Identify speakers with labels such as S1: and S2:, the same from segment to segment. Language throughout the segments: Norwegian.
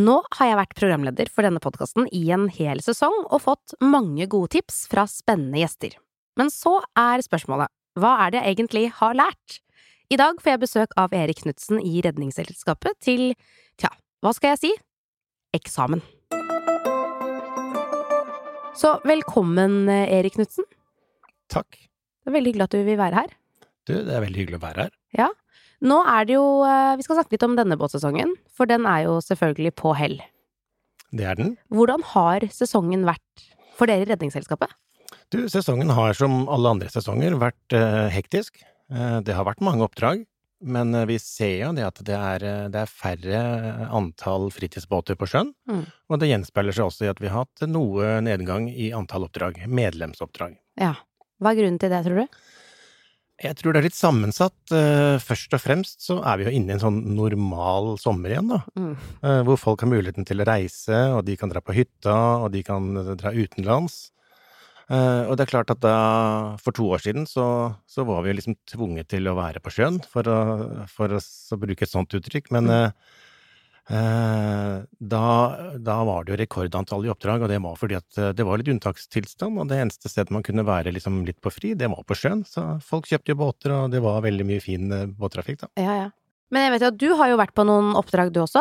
S1: Nå har jeg vært programleder for denne podkasten i en hel sesong og fått mange gode tips fra spennende gjester. Men så er spørsmålet hva er det jeg egentlig har lært? I dag får jeg besøk av Erik Knutsen i Redningsselskapet til tja, hva skal jeg si eksamen. Så velkommen, Erik Knutsen.
S2: Takk.
S1: Det er veldig hyggelig at du vil være her.
S2: Du, det er veldig hyggelig å være her.
S1: Nå er det jo eh, Vi skal snakke litt om denne båtsesongen, for den er jo selvfølgelig på hell.
S2: Det er den.
S1: Hvordan har sesongen vært for dere i Redningsselskapet?
S2: Du, sesongen har som alle andre sesonger vært eh, hektisk. Eh, det har vært mange oppdrag, men eh, vi ser jo det at det er, eh, det er færre eh, antall fritidsbåter på sjøen.
S1: Mm.
S2: Og det gjenspeiler seg også i at vi har hatt noe nedgang i antall oppdrag, medlemsoppdrag.
S1: Ja. Hva er grunnen til det, tror du?
S2: Jeg tror det er litt sammensatt. Eh, Først og fremst så er vi jo inne i en sånn normal sommer igjen, da.
S1: Mm.
S2: Eh, Hvor folk har muligheten til å reise, og de kan dra på hytta, og de kan eh, dra utenlands. Eh, Og det er klart at da, for to år siden, så, så var vi jo liksom tvunget til å være på sjøen, for å, for å s- å bruke et sånt uttrykk. Men eh, eh, da, da var det jo rekordantall i oppdrag, og det var fordi at eh, det var litt unntakstilstand, og det eneste stedet man kunne være liksom litt på fri, det var på sjøen. Så folk kjøpte jo båter, og det var veldig mye fin eh, båttrafikk, da.
S1: Ja, ja. Men jeg vet jo at du har jo vært på noen oppdrag, du også.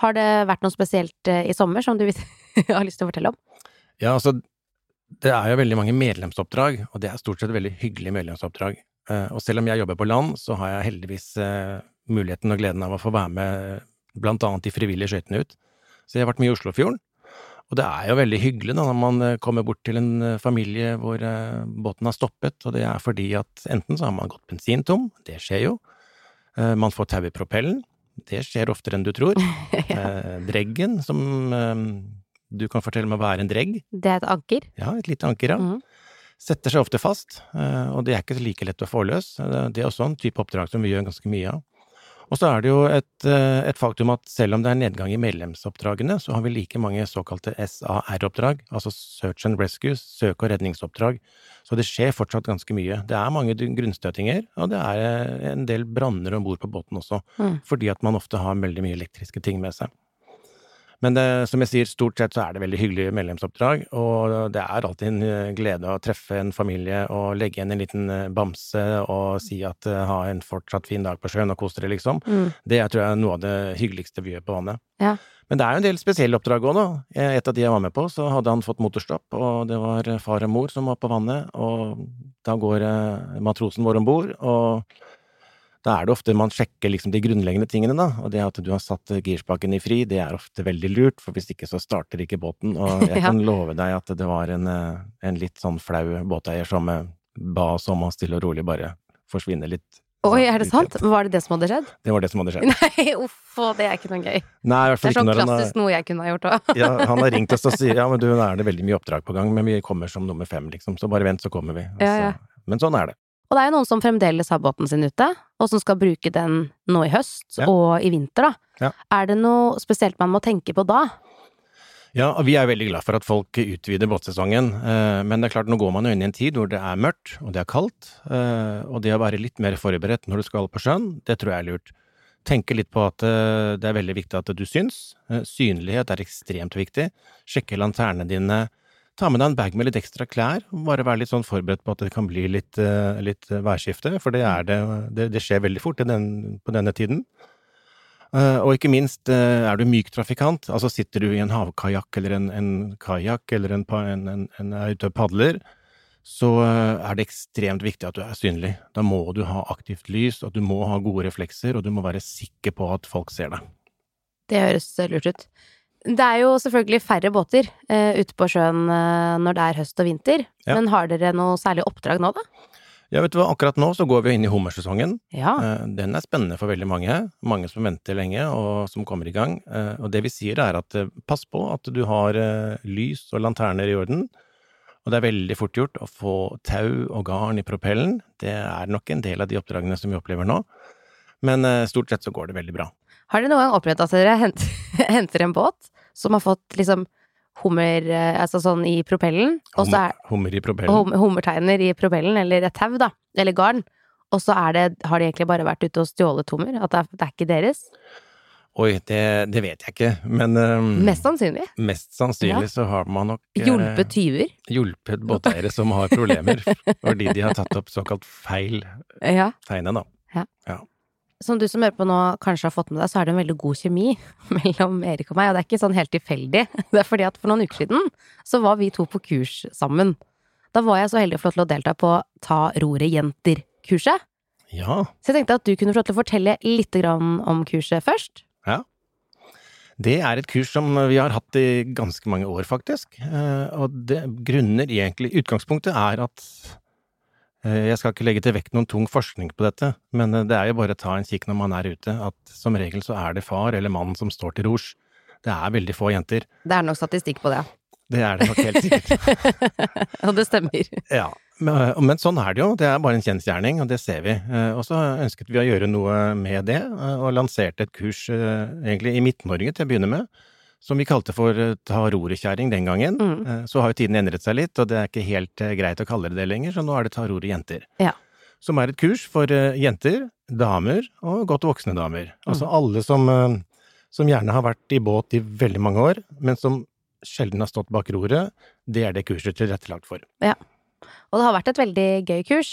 S1: Har det vært noe spesielt eh, i sommer som du vis- har lyst til å fortelle om?
S2: Ja, altså, det er jo veldig mange medlemsoppdrag, og det er stort sett veldig hyggelige medlemsoppdrag. Eh, Og selv om jeg jobber på land, så har jeg heldigvis eh, muligheten og gleden av å få være med blant annet de frivillige skøytene ut. Så jeg har vært mye i Oslofjorden. Og det er jo veldig hyggelig da, når man eh, kommer bort til en eh, familie hvor eh, båten har stoppet, og det er fordi at enten så har man gått bensintom, det skjer jo, eh, man får tau i propellen, det skjer oftere enn du tror,
S1: ja.
S2: eh, dreggen som eh, du kan fortelle meg hva er en dregg,
S1: Det er et anker.
S2: ja, et lite anker, ja.
S1: Mhm.
S2: Setter seg ofte fast, eh, og det er ikke like lett å få løs. Eh, Det er også en type oppdrag som vi gjør ganske mye av. Og så er det jo et, eh, et faktum at selv om det er nedgang i medlemsoppdragene, så har vi like mange såkalte SAR-oppdrag, altså Search and Rescue, søk- og redningsoppdrag. Så det skjer fortsatt ganske mye. Det er mange dun- grunnstøtinger, og det er eh, en del branner om bord på båten også,
S1: Mm.
S2: fordi at man ofte har veldig mye elektriske ting med seg. Men det, Eh, som jeg sier, stort sett så er det veldig hyggelige medlemsoppdrag, og det er alltid en eh, glede å treffe en familie og legge igjen en liten eh, bamse og si at eh, ha en fortsatt fin dag på sjøen og kos dere, liksom.
S1: Mm.
S2: Det er, tror jeg er noe av det hyggeligste vi gjør på vannet.
S1: Ja.
S2: Men det er jo en del spesielle oppdrag òg, da. Eh, Et av de jeg var med på, så hadde han fått motorstopp, og det var eh, far og mor som var på vannet, og da går eh, matrosen vår om bord, og da er det ofte man sjekker liksom de grunnleggende tingene, da. Og det at du har satt eh, girspaken i fri, det er ofte veldig lurt, for hvis ikke så starter ikke båten. Og jeg
S1: Ja.
S2: kan love deg at det var en, eh, en litt sånn flau båteier som eh, ba oss om å stille og rolig bare forsvinne litt.
S1: Oi, er det
S2: Sånn, ut
S1: sant? Var det det som hadde skjedd?
S2: igjen. Det var det som hadde skjedd.
S1: Nei, uff, å, det er ikke noe gøy.
S2: Nei, i
S1: Det
S2: hvert fall
S1: er
S2: ikke
S1: sånn
S2: når han har,
S1: klassisk noe jeg kunne ha gjort òg.
S2: ja, han har ringt oss og sier ja, men du, nå er det veldig mye oppdrag på gang, men vi kommer som nummer fem, liksom. Så bare vent, så kommer vi. Og
S1: Ja,
S2: så-
S1: ja.
S2: Men sånn er det.
S1: Og det er jo noen som fremdeles har båten sin ute, og som skal bruke den nå i høst
S2: Ja.
S1: og i vinter, da.
S2: Ja.
S1: Er det noe spesielt man må tenke på da?
S2: Ja, og vi er veldig glad for at folk utvider båtsesongen, eh, men det er klart, nå går man jo inn i en tid hvor det er mørkt, og det er kaldt, eh, og det å være litt mer forberedt når du skal på sjøen, det tror jeg er lurt. Tenke litt på at eh, det er veldig viktig at du syns. Eh, Synlighet er ekstremt viktig. Sjekke lanternene dine. Ta med deg en bag med litt ekstra klær. Bare være litt sånn forberedt på at det kan bli litt, eh, litt eh, værskifte, for det, er det, det, det skjer veldig fort i den, på denne tiden. Eh, Og ikke minst, eh, er du myk trafikant, altså sitter du i en havkajakk eller en, en kajakk eller en, pa- en, en, en er ute og padler, så eh, er det ekstremt viktig at du er synlig. Da må du ha aktivt lys, og du må ha gode reflekser, og du må være sikker på at folk ser deg.
S1: Det høres lurt ut. Det er jo selvfølgelig færre båter eh, ute på sjøen eh, når det er høst og vinter,
S2: Ja.
S1: men har dere noe særlig oppdrag nå, da?
S2: Ja, vet du hva, akkurat nå så går vi inn i hummersesongen.
S1: Ja.
S2: Eh, Den er spennende for veldig mange. Mange som venter lenge, og som kommer i gang. Eh, Og det vi sier, er at eh, pass på at du har eh, lys og lanterner i orden. Og det er veldig fort gjort å få tau og garn i propellen. Det er nok en del av de oppdragene som vi opplever nå. Men eh, stort sett så går det veldig bra.
S1: Har dere noen gang opplevd at dere hent, henter en båt som har fått liksom hummer, eh, altså sånn i propellen, og så er
S2: Hummer, hummer i propellen.
S1: hum, hummerteiner i propellen, eller et tau, da, eller garn, og så er det, har de egentlig bare vært ute og stjålet hummer, at det er, det er ikke deres?
S2: Oi, det, det vet jeg ikke, men eh,
S1: Mest sannsynlig.
S2: mest sannsynlig så har man nok eh,
S1: Hjulpet tyver.
S2: hjulpet båteiere som har problemer, fordi de har tatt opp såkalt feil
S1: Ja.
S2: tegne, da.
S1: Som du som hører på nå kanskje har fått med deg, så er det en veldig god kjemi mellom Erik og meg, og det er ikke sånn helt tilfeldig. Det er fordi at for noen uker siden så var vi to på kurs sammen. Da var jeg så heldig å få lov til å delta på Ta roret jenter-kurset.
S2: Ja,
S1: Så jeg tenkte at du kunne få lov til å fortelle litt grann om kurset først.
S2: Det er et kurs som vi har hatt i ganske mange år, faktisk. Eh, Og det grunner egentlig Utgangspunktet er at eh, Jeg skal ikke legge til vekt noen tung forskning på dette, men eh, det er jo bare å ta en kikk når man er ute, at som regel så er det far eller mann som står til rors. Det er veldig få jenter.
S1: Det er nok statistikk på det.
S2: Det er det nok helt sikkert.
S1: Og det stemmer.
S2: Ja, men, men sånn er det jo. Det er bare en kjensgjerning, og det ser vi. Eh, Og så ønsket vi å gjøre noe med det, eh, og lanserte et kurs eh, egentlig i Midt-Norge til å begynne med, som vi kalte for eh, Ta roret-kjerring den gangen.
S1: Mm.
S2: Eh, Så har jo tiden endret seg litt, og det er ikke helt eh, greit å kalle det det lenger, så nå er det Ta roret jenter.
S1: Ja.
S2: Som er et kurs for eh, jenter, damer og godt voksne damer. Altså
S1: Mm.
S2: alle som, eh, som gjerne har vært i båt i veldig mange år, men som sjelden har stått bak roret. Det er det kurset tilrettelagt for.
S1: Og det har vært et veldig gøy kurs.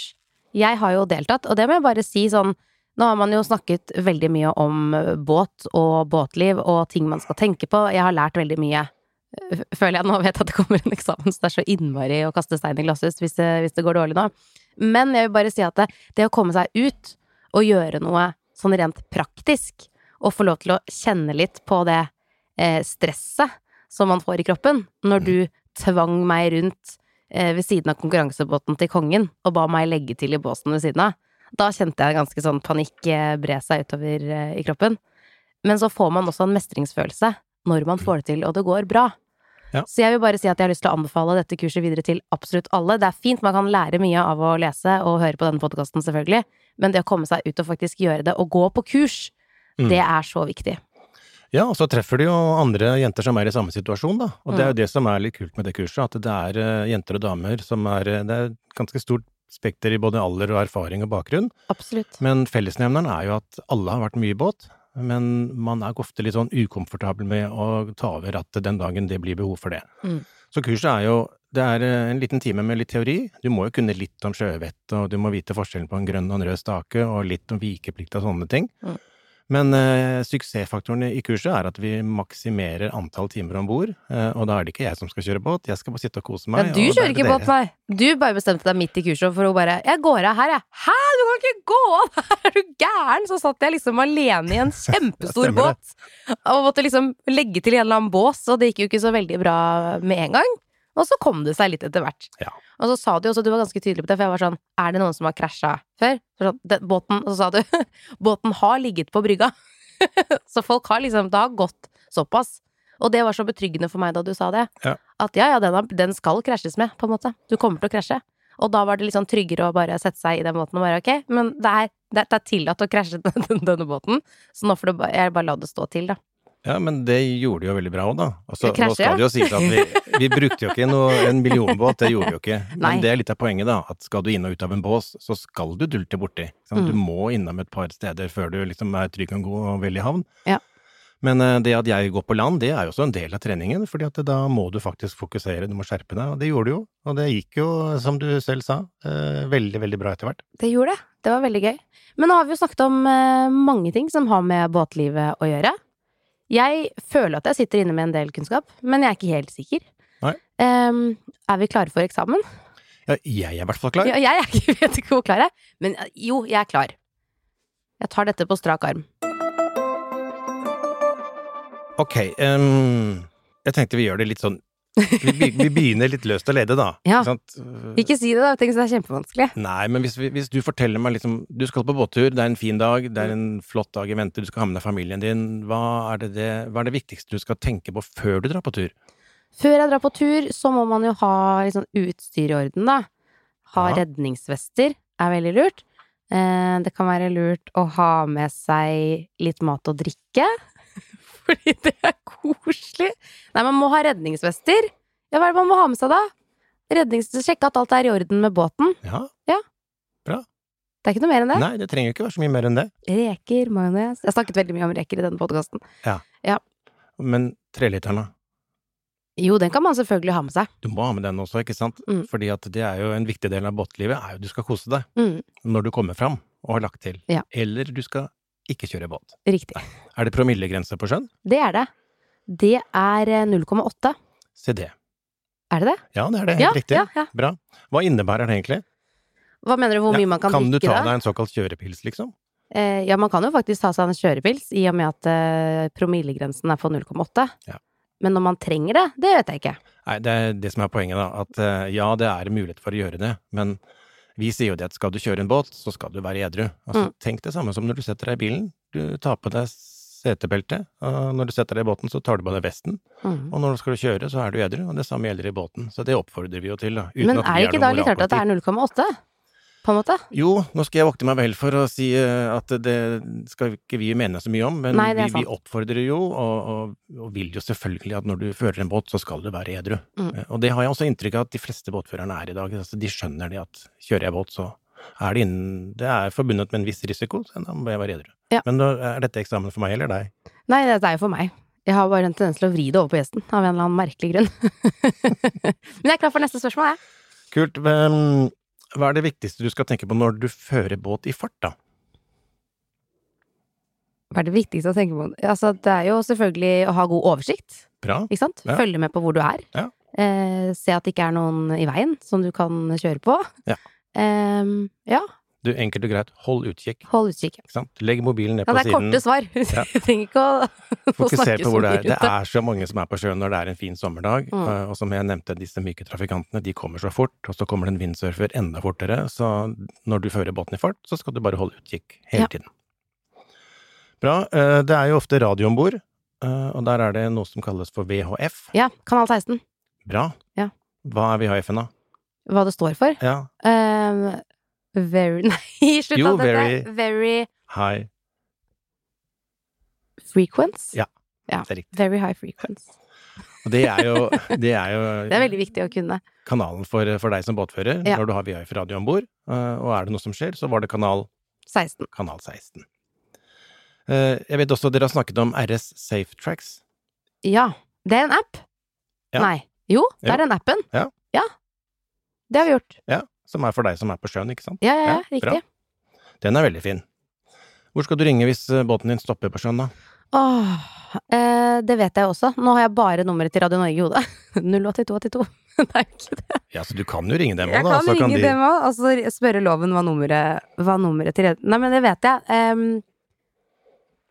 S1: Jeg har jo deltatt, og det må jeg bare si sånn Nå har man jo snakket veldig mye om eh, båt og båtliv og ting man skal tenke på. Jeg har lært veldig mye. eh, F- Føler jeg nå vet at det kommer en eksamen, så det er så innmari å kaste stein i glasshus hvis det, hvis det går dårlig nå. Men jeg vil bare si at det, det å komme seg ut og gjøre noe sånn rent praktisk, og få lov til å kjenne litt på det eh, stresset som man får i kroppen når du tvang meg rundt eh, ved siden av konkurransebåten til kongen og ba meg legge til i båsen ved siden av. Da kjente jeg ganske sånn panikk eh, bre seg utover eh, i kroppen. Men så får man også en mestringsfølelse når man får det til, og det går bra.
S2: Ja.
S1: Så jeg vil bare si at jeg har lyst til å anbefale dette kurset videre til absolutt alle. Det er fint, man kan lære mye av å lese og høre på denne podkasten, selvfølgelig, men det å komme seg ut og faktisk gjøre det, og gå på kurs,
S2: Mm.
S1: det er så viktig.
S2: Ja, og så treffer du jo andre jenter som er i samme situasjon, da. Og det er jo det som er litt kult med det kurset, at det er eh, jenter og damer som er eh, Det er et ganske stort spekter i både alder og erfaring og bakgrunn.
S1: Absolutt.
S2: Men fellesnevneren er jo at alle har vært mye i båt, men man er ofte litt sånn ukomfortabel med å ta over rattet den dagen det blir behov for det.
S1: Mm.
S2: Så kurset er jo det er eh, en liten time med litt teori. Du må jo kunne litt om sjøvett, og du må vite forskjellen på en grønn og en rød stake, og litt om vikeplikt og sånne ting.
S1: Mm.
S2: Men eh, suksessfaktoren i kurset er at vi maksimerer antall timer om bord. Eh, og da er det ikke jeg som skal kjøre båt, jeg skal bare sitte og kose
S1: Ja,
S2: meg.
S1: du
S2: og det er
S1: kjører ikke
S2: dere.
S1: båt, nei. Du bare bestemte deg midt i kurset for å bare Jeg går av her, jeg. Hæ, du kan ikke gå av her, er du gæren? Så satt jeg liksom alene i en kjempestor
S2: Stemmer det.
S1: båt. Og måtte liksom legge til i en eller annen bås, og det gikk jo ikke så veldig bra med en gang. Og så kom det seg litt etter hvert.
S2: Ja.
S1: Og så sa du jo også, du var ganske tydelig på det, for jeg var sånn Er det noen som har krasja før? Så sånn, den båten, og så sa du Båten har ligget på brygga. så folk har liksom Det har gått såpass. Og det var så betryggende for meg da du sa det at ja, ja, den, har- den skal krasjes med, på en måte. Du kommer til å krasje. Og da var det litt sånn tryggere å bare sette seg i den båten og bare ok, men det er, det det er tillatt å krasje den- denne båten, så nå får du ba- jeg bare la det stå til, da.
S2: Ja, men det gjorde de jo veldig bra òg, da. Og så,
S1: Det krasjer,
S2: nå skal det jo sies at vi, vi brukte jo ikke noe, en millionbåt, det gjorde vi jo ikke.
S1: Nei.
S2: Men det er litt av poenget, da. At skal du inn og ut av en bås, så skal du dulte borti. ikke sant?
S1: Mm.
S2: Du må innom et par steder før du liksom er trygg og god og vel i havn.
S1: Ja.
S2: Men eh, det at jeg går på land, det er jo også en del av treningen, fordi at da må du faktisk fokusere, du må skjerpe deg, og det gjorde du jo. Og det gikk jo, som du selv sa, eh, veldig, veldig bra etter hvert.
S1: Det gjorde det. Det var veldig gøy. Men nå har vi jo snakket om eh, mange ting som har med båtlivet å gjøre. Jeg føler at jeg sitter inne med en del kunnskap, men jeg er ikke helt sikker.
S2: Nei.
S1: Em, er vi klare for eksamen?
S2: Ja, jeg er i hvert fall klar.
S1: Ja, jeg er ikke, vet ikke hvor klar jeg er. Men eh, jo, jeg er klar. Jeg tar dette på strak arm.
S2: Ok, ehm, jeg tenkte vi gjør det litt sånn Vi, be- vi begynner litt løst å lede, da.
S1: Ja.
S2: Ikke sant?
S1: Ikke si det, da. Tenk så det er kjempevanskelig.
S2: Nei, men hvis, vi- hvis du forteller meg liksom Du skal på båttur, det er en fin dag, det er en flott dag i vente, du skal ha med deg familien din. Hva er det, det, hva er det viktigste du skal tenke på før du drar på tur?
S1: Før jeg drar på tur, så må man jo ha liksom, utstyr i orden, da. Ha
S2: Ja.
S1: redningsvester er veldig lurt. Eh, det kan være lurt å ha med seg litt mat og drikke. Fordi det er koselig. Nei, man må ha redningsvester. Ja, hva er det man må ha med seg, da? Rednings... Sjekke at alt er i orden med båten.
S2: Ja,
S1: Det er ikke noe mer enn det.
S2: Nei, det trenger ikke være så mye mer enn det.
S1: Reker, majones Jeg har snakket veldig mye om reker i denne podkasten.
S2: Men treliteren, da?
S1: Jo, den kan man selvfølgelig ha med seg.
S2: Du må ha med den også, ikke sant?
S1: Mm.
S2: Fordi at det er jo en viktig del av båtlivet, er jo du skal kose deg
S1: Mm,
S2: når du kommer fram og har lagt til.
S1: Ja.
S2: Eller du skal ikke kjøre båt.
S1: riktig.
S2: Er det promillegrense på sjøen?
S1: Det er det. Det er eh, 0,8.
S2: Se det.
S1: Er det det?
S2: Ja, det er det. Helt
S1: Ja,
S2: riktig.
S1: ja, ja.
S2: Bra. Hva innebærer det egentlig?
S1: Hva mener du hvor
S2: Ja,
S1: mye man kan,
S2: du
S1: drikke
S2: ta
S1: da?
S2: deg en såkalt kjørepils, liksom?
S1: Eh, ja, man kan jo faktisk ta seg en kjørepils, i og med at eh, promillegrensen er på 0,8.
S2: Ja.
S1: Men når man trenger det, det vet jeg ikke.
S2: Nei, det er det som er poenget, da. At eh, ja, det er mulighet for å gjøre det, men vi sier jo det at skal du kjøre en båt, så skal du være edru. Altså,
S1: Mm.
S2: Tenk det samme som når du setter deg i bilen. Du tar på deg setebeltet, og når du setter deg i båten, så tar du på deg vesten.
S1: Mm.
S2: Og når du skal kjøre, så er du edru, og det samme gjelder i båten. Så det oppfordrer vi jo til, da.
S1: Men er det ikke da litt rart at det er 0,8? På en måte?
S2: Jo, nå skal jeg vokte meg vel for å si eh, at det skal ikke vi mene så mye om, men
S1: Nei, det er
S2: vi, vi oppfordrer jo, og, og, og vil jo selvfølgelig at når du fører en båt, så skal du være edru.
S1: Mm.
S2: Eh, Og det har jeg også inntrykk av at de fleste båtførerne er i dag. Altså, de skjønner det at kjører jeg båt, så er det innen Det er forbundet med en viss risiko, så da må jeg være edru.
S1: Ja.
S2: Men da er dette eksamen for meg eller deg?
S1: Nei, dette er jo for meg. Jeg har bare en tendens til å vri det over på gjesten, av en eller annen merkelig grunn. Men jeg er klar for neste spørsmål, jeg.
S2: Kult. Hvem, hva er det viktigste du skal tenke på når du fører båt i fart, da?
S1: Hva er det viktigste å tenke på? Altså, det er jo selvfølgelig å ha god oversikt,
S2: Bra.
S1: ikke sant?
S2: Ja.
S1: Følge med på hvor du er.
S2: Ja.
S1: Eh, se at det ikke er noen i veien som du kan kjøre på.
S2: Ja.
S1: Ehm, ja,
S2: Du, enkelt og greit, hold utkikk.
S1: hold utkikk.
S2: Ikke sant? Legg mobilen ned
S1: Ja,
S2: på
S1: det er
S2: siden.
S1: korte svar. Du
S2: Ja.
S1: trenger ikke å, å
S2: Fokuser
S1: snakke
S2: på
S1: så
S2: hvor
S1: mye
S2: det er. Det
S1: rundt det.
S2: er så mange som er på sjøen når det er en fin sommerdag.
S1: Mm.
S2: eh, Og som jeg nevnte, disse myke trafikantene, de kommer så fort, og så kommer det en windsurfer enda fortere. Så når du fører båten i fart, så skal du bare holde utkikk hele
S1: Ja.
S2: tiden. Bra. eh, Det er jo ofte radio om bord, eh, og der er det noe som kalles for VHF.
S1: Ja, Kanal 16.
S2: Bra.
S1: Ja.
S2: Hva er VHF-en, da?
S1: Hva det står for.
S2: Ja.
S1: Ehm, very Nei, slutt
S2: Jo,
S1: av dette. Very,
S2: High.
S1: frequence.
S2: Ja,
S1: Ja.
S2: Det er riktig.
S1: Very high frequence.
S2: Og det er jo, det er jo
S1: Det er veldig viktig å kunne.
S2: kanalen for, for deg som båtfører
S1: Ja.
S2: når du har VHF-radio om bord. eh, Og er det noe som skjer, så var det kanal
S1: 16.
S2: kanal 16. Eh, Jeg vet også at dere har snakket om RS Safe Tracks.
S1: Ja. Det er en app.
S2: Ja.
S1: Nei. Jo, det
S2: Jo.
S1: er den appen.
S2: Ja.
S1: Det har vi gjort.
S2: Ja, som er for deg som er på sjøen, ikke sant?
S1: Ja, ja, ja.
S2: Ja, bra.
S1: Riktig.
S2: Den er veldig fin. Hvor skal du ringe hvis eh, båten din stopper på sjøen, da?
S1: Åh, eh, det vet jeg også. Nå har jeg bare nummeret til Radio Norge i hodet. 08282. Det er ikke
S2: Ja, så du kan jo ringe dem
S1: Jeg
S2: òg, da.
S1: kan
S2: så
S1: ringe
S2: de-
S1: dem òg, og så altså, spørre loven hva nummeret, hva nummeret til red- Nei, men det vet jeg. Ehm,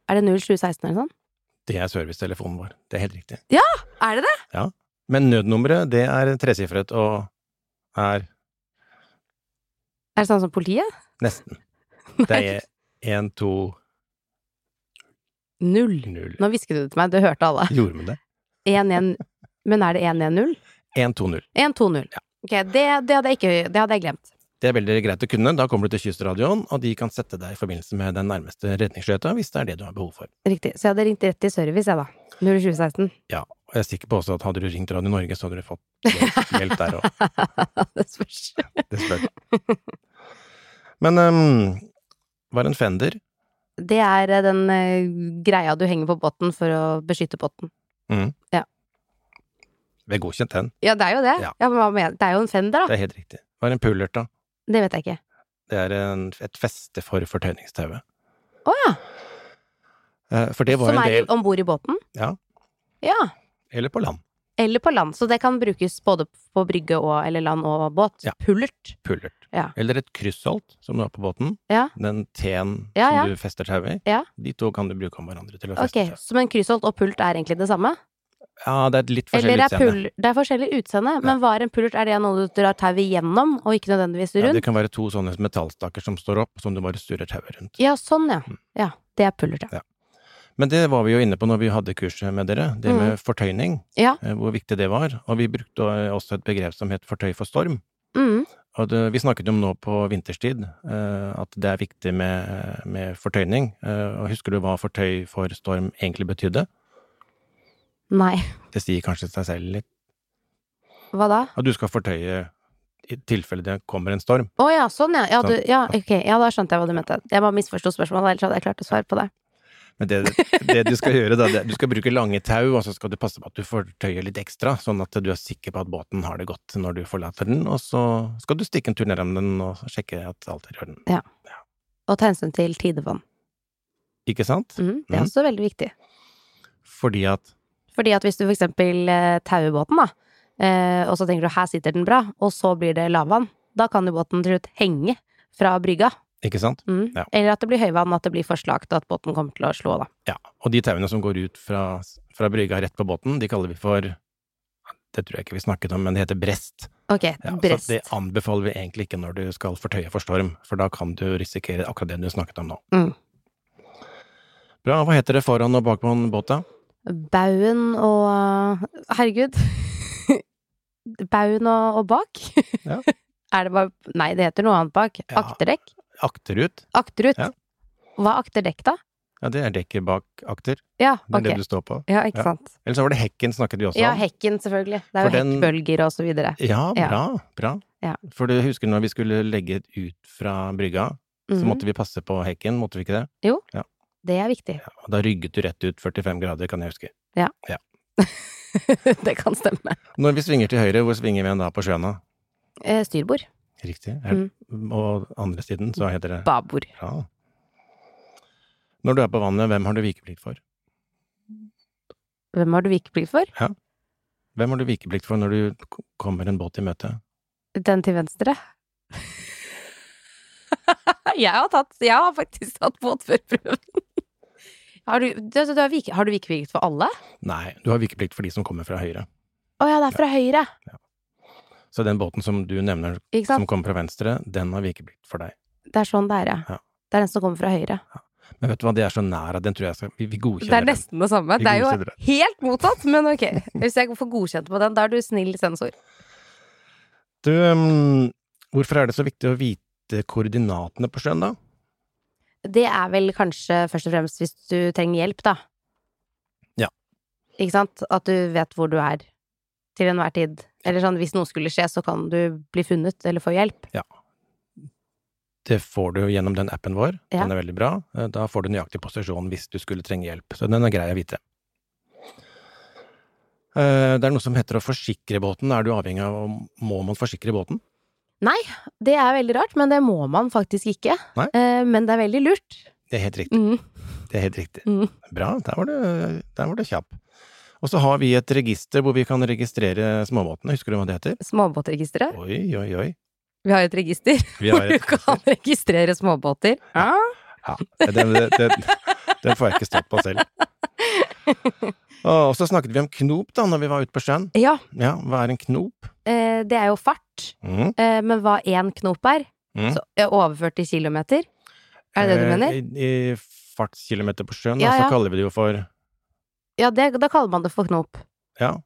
S1: er det 0716 eller sånn? noe sånt?
S2: Det er servicetelefonen vår. Det er helt riktig.
S1: Er det det?
S2: Men nødnummeret, det er tresifret og er
S1: Er det sånn som politiet?
S2: nesten. Det
S1: Nei.
S2: er 1, 2,
S1: Null.
S2: 0.
S1: Nå hvisket du det til meg, det hørte alle.
S2: Gjorde vi det?
S1: 110 Men er det 110?
S2: 1, 2, 0.
S1: 120. Ok, det, det, hadde jeg ikke, det hadde jeg glemt.
S2: Det er veldig greit å kunne. Da kommer du til Kystradioen, og de kan sette deg i forbindelse med den nærmeste redningsskøyta, hvis det er det du har behov for.
S1: Riktig. Så jeg hadde ringt rett til service, jeg, da. 02016.
S2: Ja, og jeg er sikker på også at hadde du ringt Radio Norge, så hadde du fått hjelp- hjelp der òg.
S1: det spørs.
S2: Det spør. Men um, var en fender.
S1: Det er eh, den eh, greia du henger på båten for å beskytte båten.
S2: Vi har godkjent den,
S1: Ja, det er jo det.
S2: Ja.
S1: Ja. men hva mener- det er jo en fender, da.
S2: det er helt riktig. Var en pullert, da.
S1: Det vet jeg ikke.
S2: Det er en, et feste for fortøyningstauet.
S1: Å ja.
S2: Eh, For det var
S1: Som
S2: en
S1: er
S2: del
S1: om bord i båten?
S2: Ja.
S1: Ja,
S2: Eller på land.
S1: Eller på land, så det kan brukes både på brygge og, eller land og båt.
S2: Ja.
S1: Pullert.
S2: Pullert.
S1: Ja.
S2: Eller et kryssholt, som du har på båten.
S1: Ja.
S2: Den T-en
S1: Ja, ja.
S2: som du fester tauet i.
S1: Ja.
S2: De to kan du bruke om hverandre til å feste
S1: Ok,
S2: tau.
S1: så men kryssholt og pullert er egentlig det samme?
S2: Ja, det er et litt forskjellig
S1: Eller er
S2: utseende.
S1: pull, det er forskjellig utseende, men hva er en pullert? Er det noe du drar tauet igjennom, og ikke nødvendigvis
S2: Ja, det
S1: rundt?
S2: kan være to sånne metallstaker som står opp, som du bare surrer tauet rundt.
S1: Ja, sånn ja.
S2: Mm.
S1: Ja, det er pullert, ja.
S2: Men det var vi jo inne på når vi hadde kurset med dere, det med fortøyning,
S1: Ja.
S2: eh, hvor viktig det var. Og vi brukte eh, også et begrep som het fortøy for storm.
S1: Mm.
S2: Og det, vi snakket jo om nå på vinterstid eh, at det er viktig med, med fortøyning. Eh, og husker du hva fortøy for storm egentlig betydde?
S1: Nei,
S2: Det sier kanskje seg selv litt.
S1: hva da?
S2: At du skal fortøye i tilfelle det kommer en storm.
S1: Å ja, sånn ja. Ja, du,
S2: Sånn.
S1: ja, ok. ja, da skjønte jeg hva du mente. Jeg bare misforsto spørsmålet, ellers hadde jeg klart å svare på det.
S2: Men det, det du skal gjøre, da, det, du skal bruke lange tau, og så skal du passe på at du får tøye litt ekstra, sånn at du er sikker på at båten har det godt når du forlater den, og så skal du stikke en tur ned om den og sjekke at alt er i orden.
S1: Og ta hensyn til tidevann.
S2: Ikke sant?
S1: Mhm, det er
S2: Mhm.
S1: også veldig viktig.
S2: Fordi at
S1: Fordi at hvis du for eksempel eh, tauer båten, da, eh, og så tenker du her sitter den bra, og så blir det lavvann, da kan jo båten til slutt henge fra brygga.
S2: Ikke sant?
S1: Mhm.
S2: Ja.
S1: Eller at det blir høyvann, at det blir forslakt, og at båten kommer til å slå, da.
S2: Ja. Og de tauene som går ut fra, fra brygga rett på båten, de kaller vi for Det tror jeg ikke vi snakket om, men det heter brest.
S1: Ok,
S2: Ja,
S1: brest.
S2: Så det anbefaler vi egentlig ikke når du skal fortøye for storm, for da kan du risikere akkurat det du snakket om nå.
S1: Mm.
S2: Bra. Hva heter det foran og bak på en båt, da?
S1: Baugen og Herregud. Baugen og, og bak?
S2: Ja.
S1: er det bare Nei, det heter noe annet bak.
S2: Ja.
S1: Akterdekk?
S2: Akterut?
S1: Akterut?
S2: Ja.
S1: Hva er akterdekk, da?
S2: Ja, det er dekket bak akter.
S1: Ja,
S2: Det er
S1: ok.
S2: det du står på.
S1: Ja, ikke
S2: Ja.
S1: sant.
S2: Eller så var det hekken snakket vi også
S1: Ja,
S2: om.
S1: hekken, selvfølgelig. Det er jo
S2: For den-
S1: hekkbølger og så videre.
S2: Ja,
S1: Ja.
S2: bra. bra.
S1: Ja.
S2: For du husker når vi skulle legge ut fra brygga, så
S1: Mhm.
S2: måtte vi passe på hekken, måtte vi ikke det?
S1: Det er viktig.
S2: Ja, og da rygget du rett ut 45 grader, kan jeg huske.
S1: det kan stemme.
S2: Når vi svinger til høyre, hvor svinger vi en da på sjøen da?
S1: Eh, Styrbord.
S2: Riktig. Er-
S1: Mhm.
S2: Og andre siden, så heter det
S1: Babord.
S2: bra. Når du er på vannet, hvem har du vikeplikt for?
S1: Hvem har du vikeplikt for?
S2: Hvem har du vikeplikt for når du k- kommer en båt i møte?
S1: Den til venstre. jeg, har tatt, jeg har faktisk tatt båtførerprøven. Har du, du, du, har vike, har du vikeplikt for alle?
S2: Nei, du har vikeplikt for de som kommer fra høyre.
S1: Å ja, det er fra høyre.
S2: Så den båten som du nevner
S1: Ikke
S2: som
S1: sant?
S2: kommer fra venstre, den har vikeplikt for deg.
S1: Det er sånn det er,
S2: Ja.
S1: ja. Det er den som kommer fra høyre.
S2: Men vet du hva, det er så nær at den tror jeg skal Vi, vi
S1: Det er
S2: godkjenner den.
S1: nesten det samme.
S2: Vi
S1: Det er jo
S2: godkjenner det.
S1: helt motsatt, men ok. Hvis jeg får godkjent på den, da er du snill sensor.
S2: Du, mm, hvorfor er det så viktig å vite koordinatene på sjøen, da?
S1: Det er vel kanskje først og fremst hvis du trenger hjelp, da.
S2: Ja.
S1: Ikke sant? At du vet hvor du er til enhver tid. Eller sånn, hvis noe skulle skje, så kan du bli funnet eller få hjelp.
S2: Det får du gjennom den appen vår.
S1: Ja.
S2: Den er veldig bra. Eh, Da får du nøyaktig posisjon hvis du skulle trenge hjelp. Så den er grei å vite. Eh, Det er noe som heter å forsikre båten. Er du avhengig av om- Må man forsikre båten?
S1: Det er veldig rart, men det må man faktisk ikke.
S2: Nei.
S1: Eh, men det er veldig lurt.
S2: Det er helt riktig.
S1: Mm.
S2: Det er helt riktig.
S1: Mm.
S2: Bra, der var du, der var du kjapp. Og så har vi et register hvor vi kan registrere småbåtene. Husker du hva det heter?
S1: Småbåtregisteret.
S2: Oi, oi, oi.
S1: Vi har jo et register
S2: Vi
S1: hvor
S2: har
S1: du
S2: et
S1: kan registrere småbåter. Ja.
S2: Ja, den, den, den, den får jeg ikke stått på selv. Og så snakket vi om knop da, når vi var ute på sjøen.
S1: ja
S2: Ja, hva er en knop?
S1: eh, det er jo fart.
S2: Mhm.
S1: Eh, men hva én knop er,
S2: Mm.
S1: så eh, overført i kilometer, er det det du
S2: Eh,
S1: mener?
S2: I, i fartskilometer på sjøen,
S1: Ja,
S2: da,
S1: ja.
S2: så kaller vi det jo for
S1: Ja, det, da kaller man det for knop.
S2: Ja.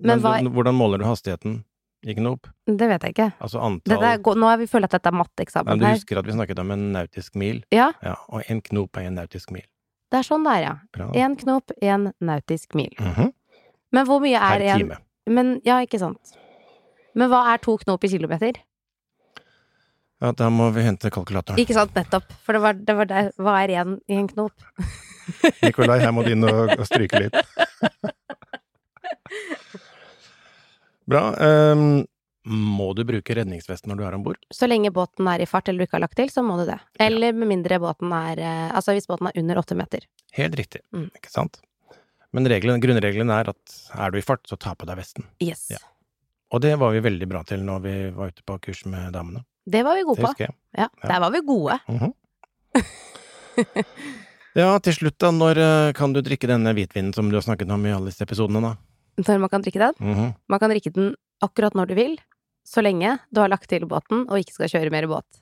S1: Men
S2: Men,
S1: hva-
S2: du- hvordan måler du hastigheten i knop?
S1: Det vet jeg ikke.
S2: Altså antall
S1: Dette er, gå- nå er vi føler at dette er
S2: Nei, men
S1: matteeksamen
S2: Du
S1: her.
S2: husker at vi snakket om en nautisk mil?
S1: Ja.
S2: Og en knop er en nautisk mil.
S1: Det er sånn det er, ja.
S2: Bra.
S1: Én knop, én nautisk mil.
S2: Mhm.
S1: Men hvor mye
S2: Per
S1: er én
S2: time.
S1: Men ja, ikke sant. Men hva er to knop i kilometer?
S2: Ja, da må vi hente kalkulatoren.
S1: Ikke sant, nettopp. For det var, det var der. Hva er én i en knop?
S2: Nikolai, her må du inn og, og stryke litt. Bra. ehm, må du bruke redningsvest når du er om bord?
S1: Så lenge båten er i fart eller du ikke har lagt til, så må du det. Eller med mindre båten er eh, Altså hvis båten er under åtte meter.
S2: Helt riktig,
S1: Mm.
S2: ikke sant? Men regelen, grunnregelen er at er du i fart, så ta på deg vesten.
S1: Yes.
S2: Ja. Og det var vi veldig bra til når vi var ute på kurs med damene.
S1: Det var vi
S2: Det
S1: gode på.
S2: husker jeg.
S1: Ja,
S2: Ja.
S1: der var vi gode.
S2: Mhm. ja, til slutt da, når eh, kan du drikke denne hvitvinen som du har snakket om i alle disse episodene da?
S1: Når man kan drikke den.
S2: Mhm.
S1: Man kan drikke den akkurat når du vil, så lenge du har lagt til båten og ikke skal kjøre mer båt.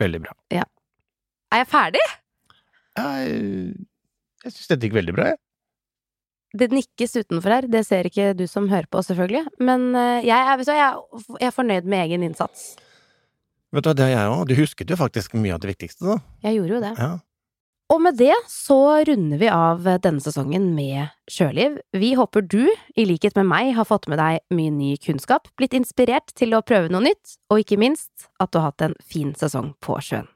S2: Veldig bra.
S1: Er jeg ferdig?
S2: Jeg, jeg synes dette gikk veldig bra, jeg.
S1: Det nikkes utenfor her, det ser ikke du som hører på, selvfølgelig. Men eh, jeg er, vet du hva, jeg er- jeg er fornøyd med egen innsats.
S2: Vet du hva, det er jeg òg. Du husket jo faktisk mye av det viktigste, da.
S1: Jeg gjorde jo det.
S2: Ja.
S1: Og med det så runder vi av denne sesongen med sjøliv. Vi håper du, i likhet med meg, har fått med deg mye ny kunnskap, blitt inspirert til å prøve noe nytt, og ikke minst at du har hatt en fin sesong på sjøen.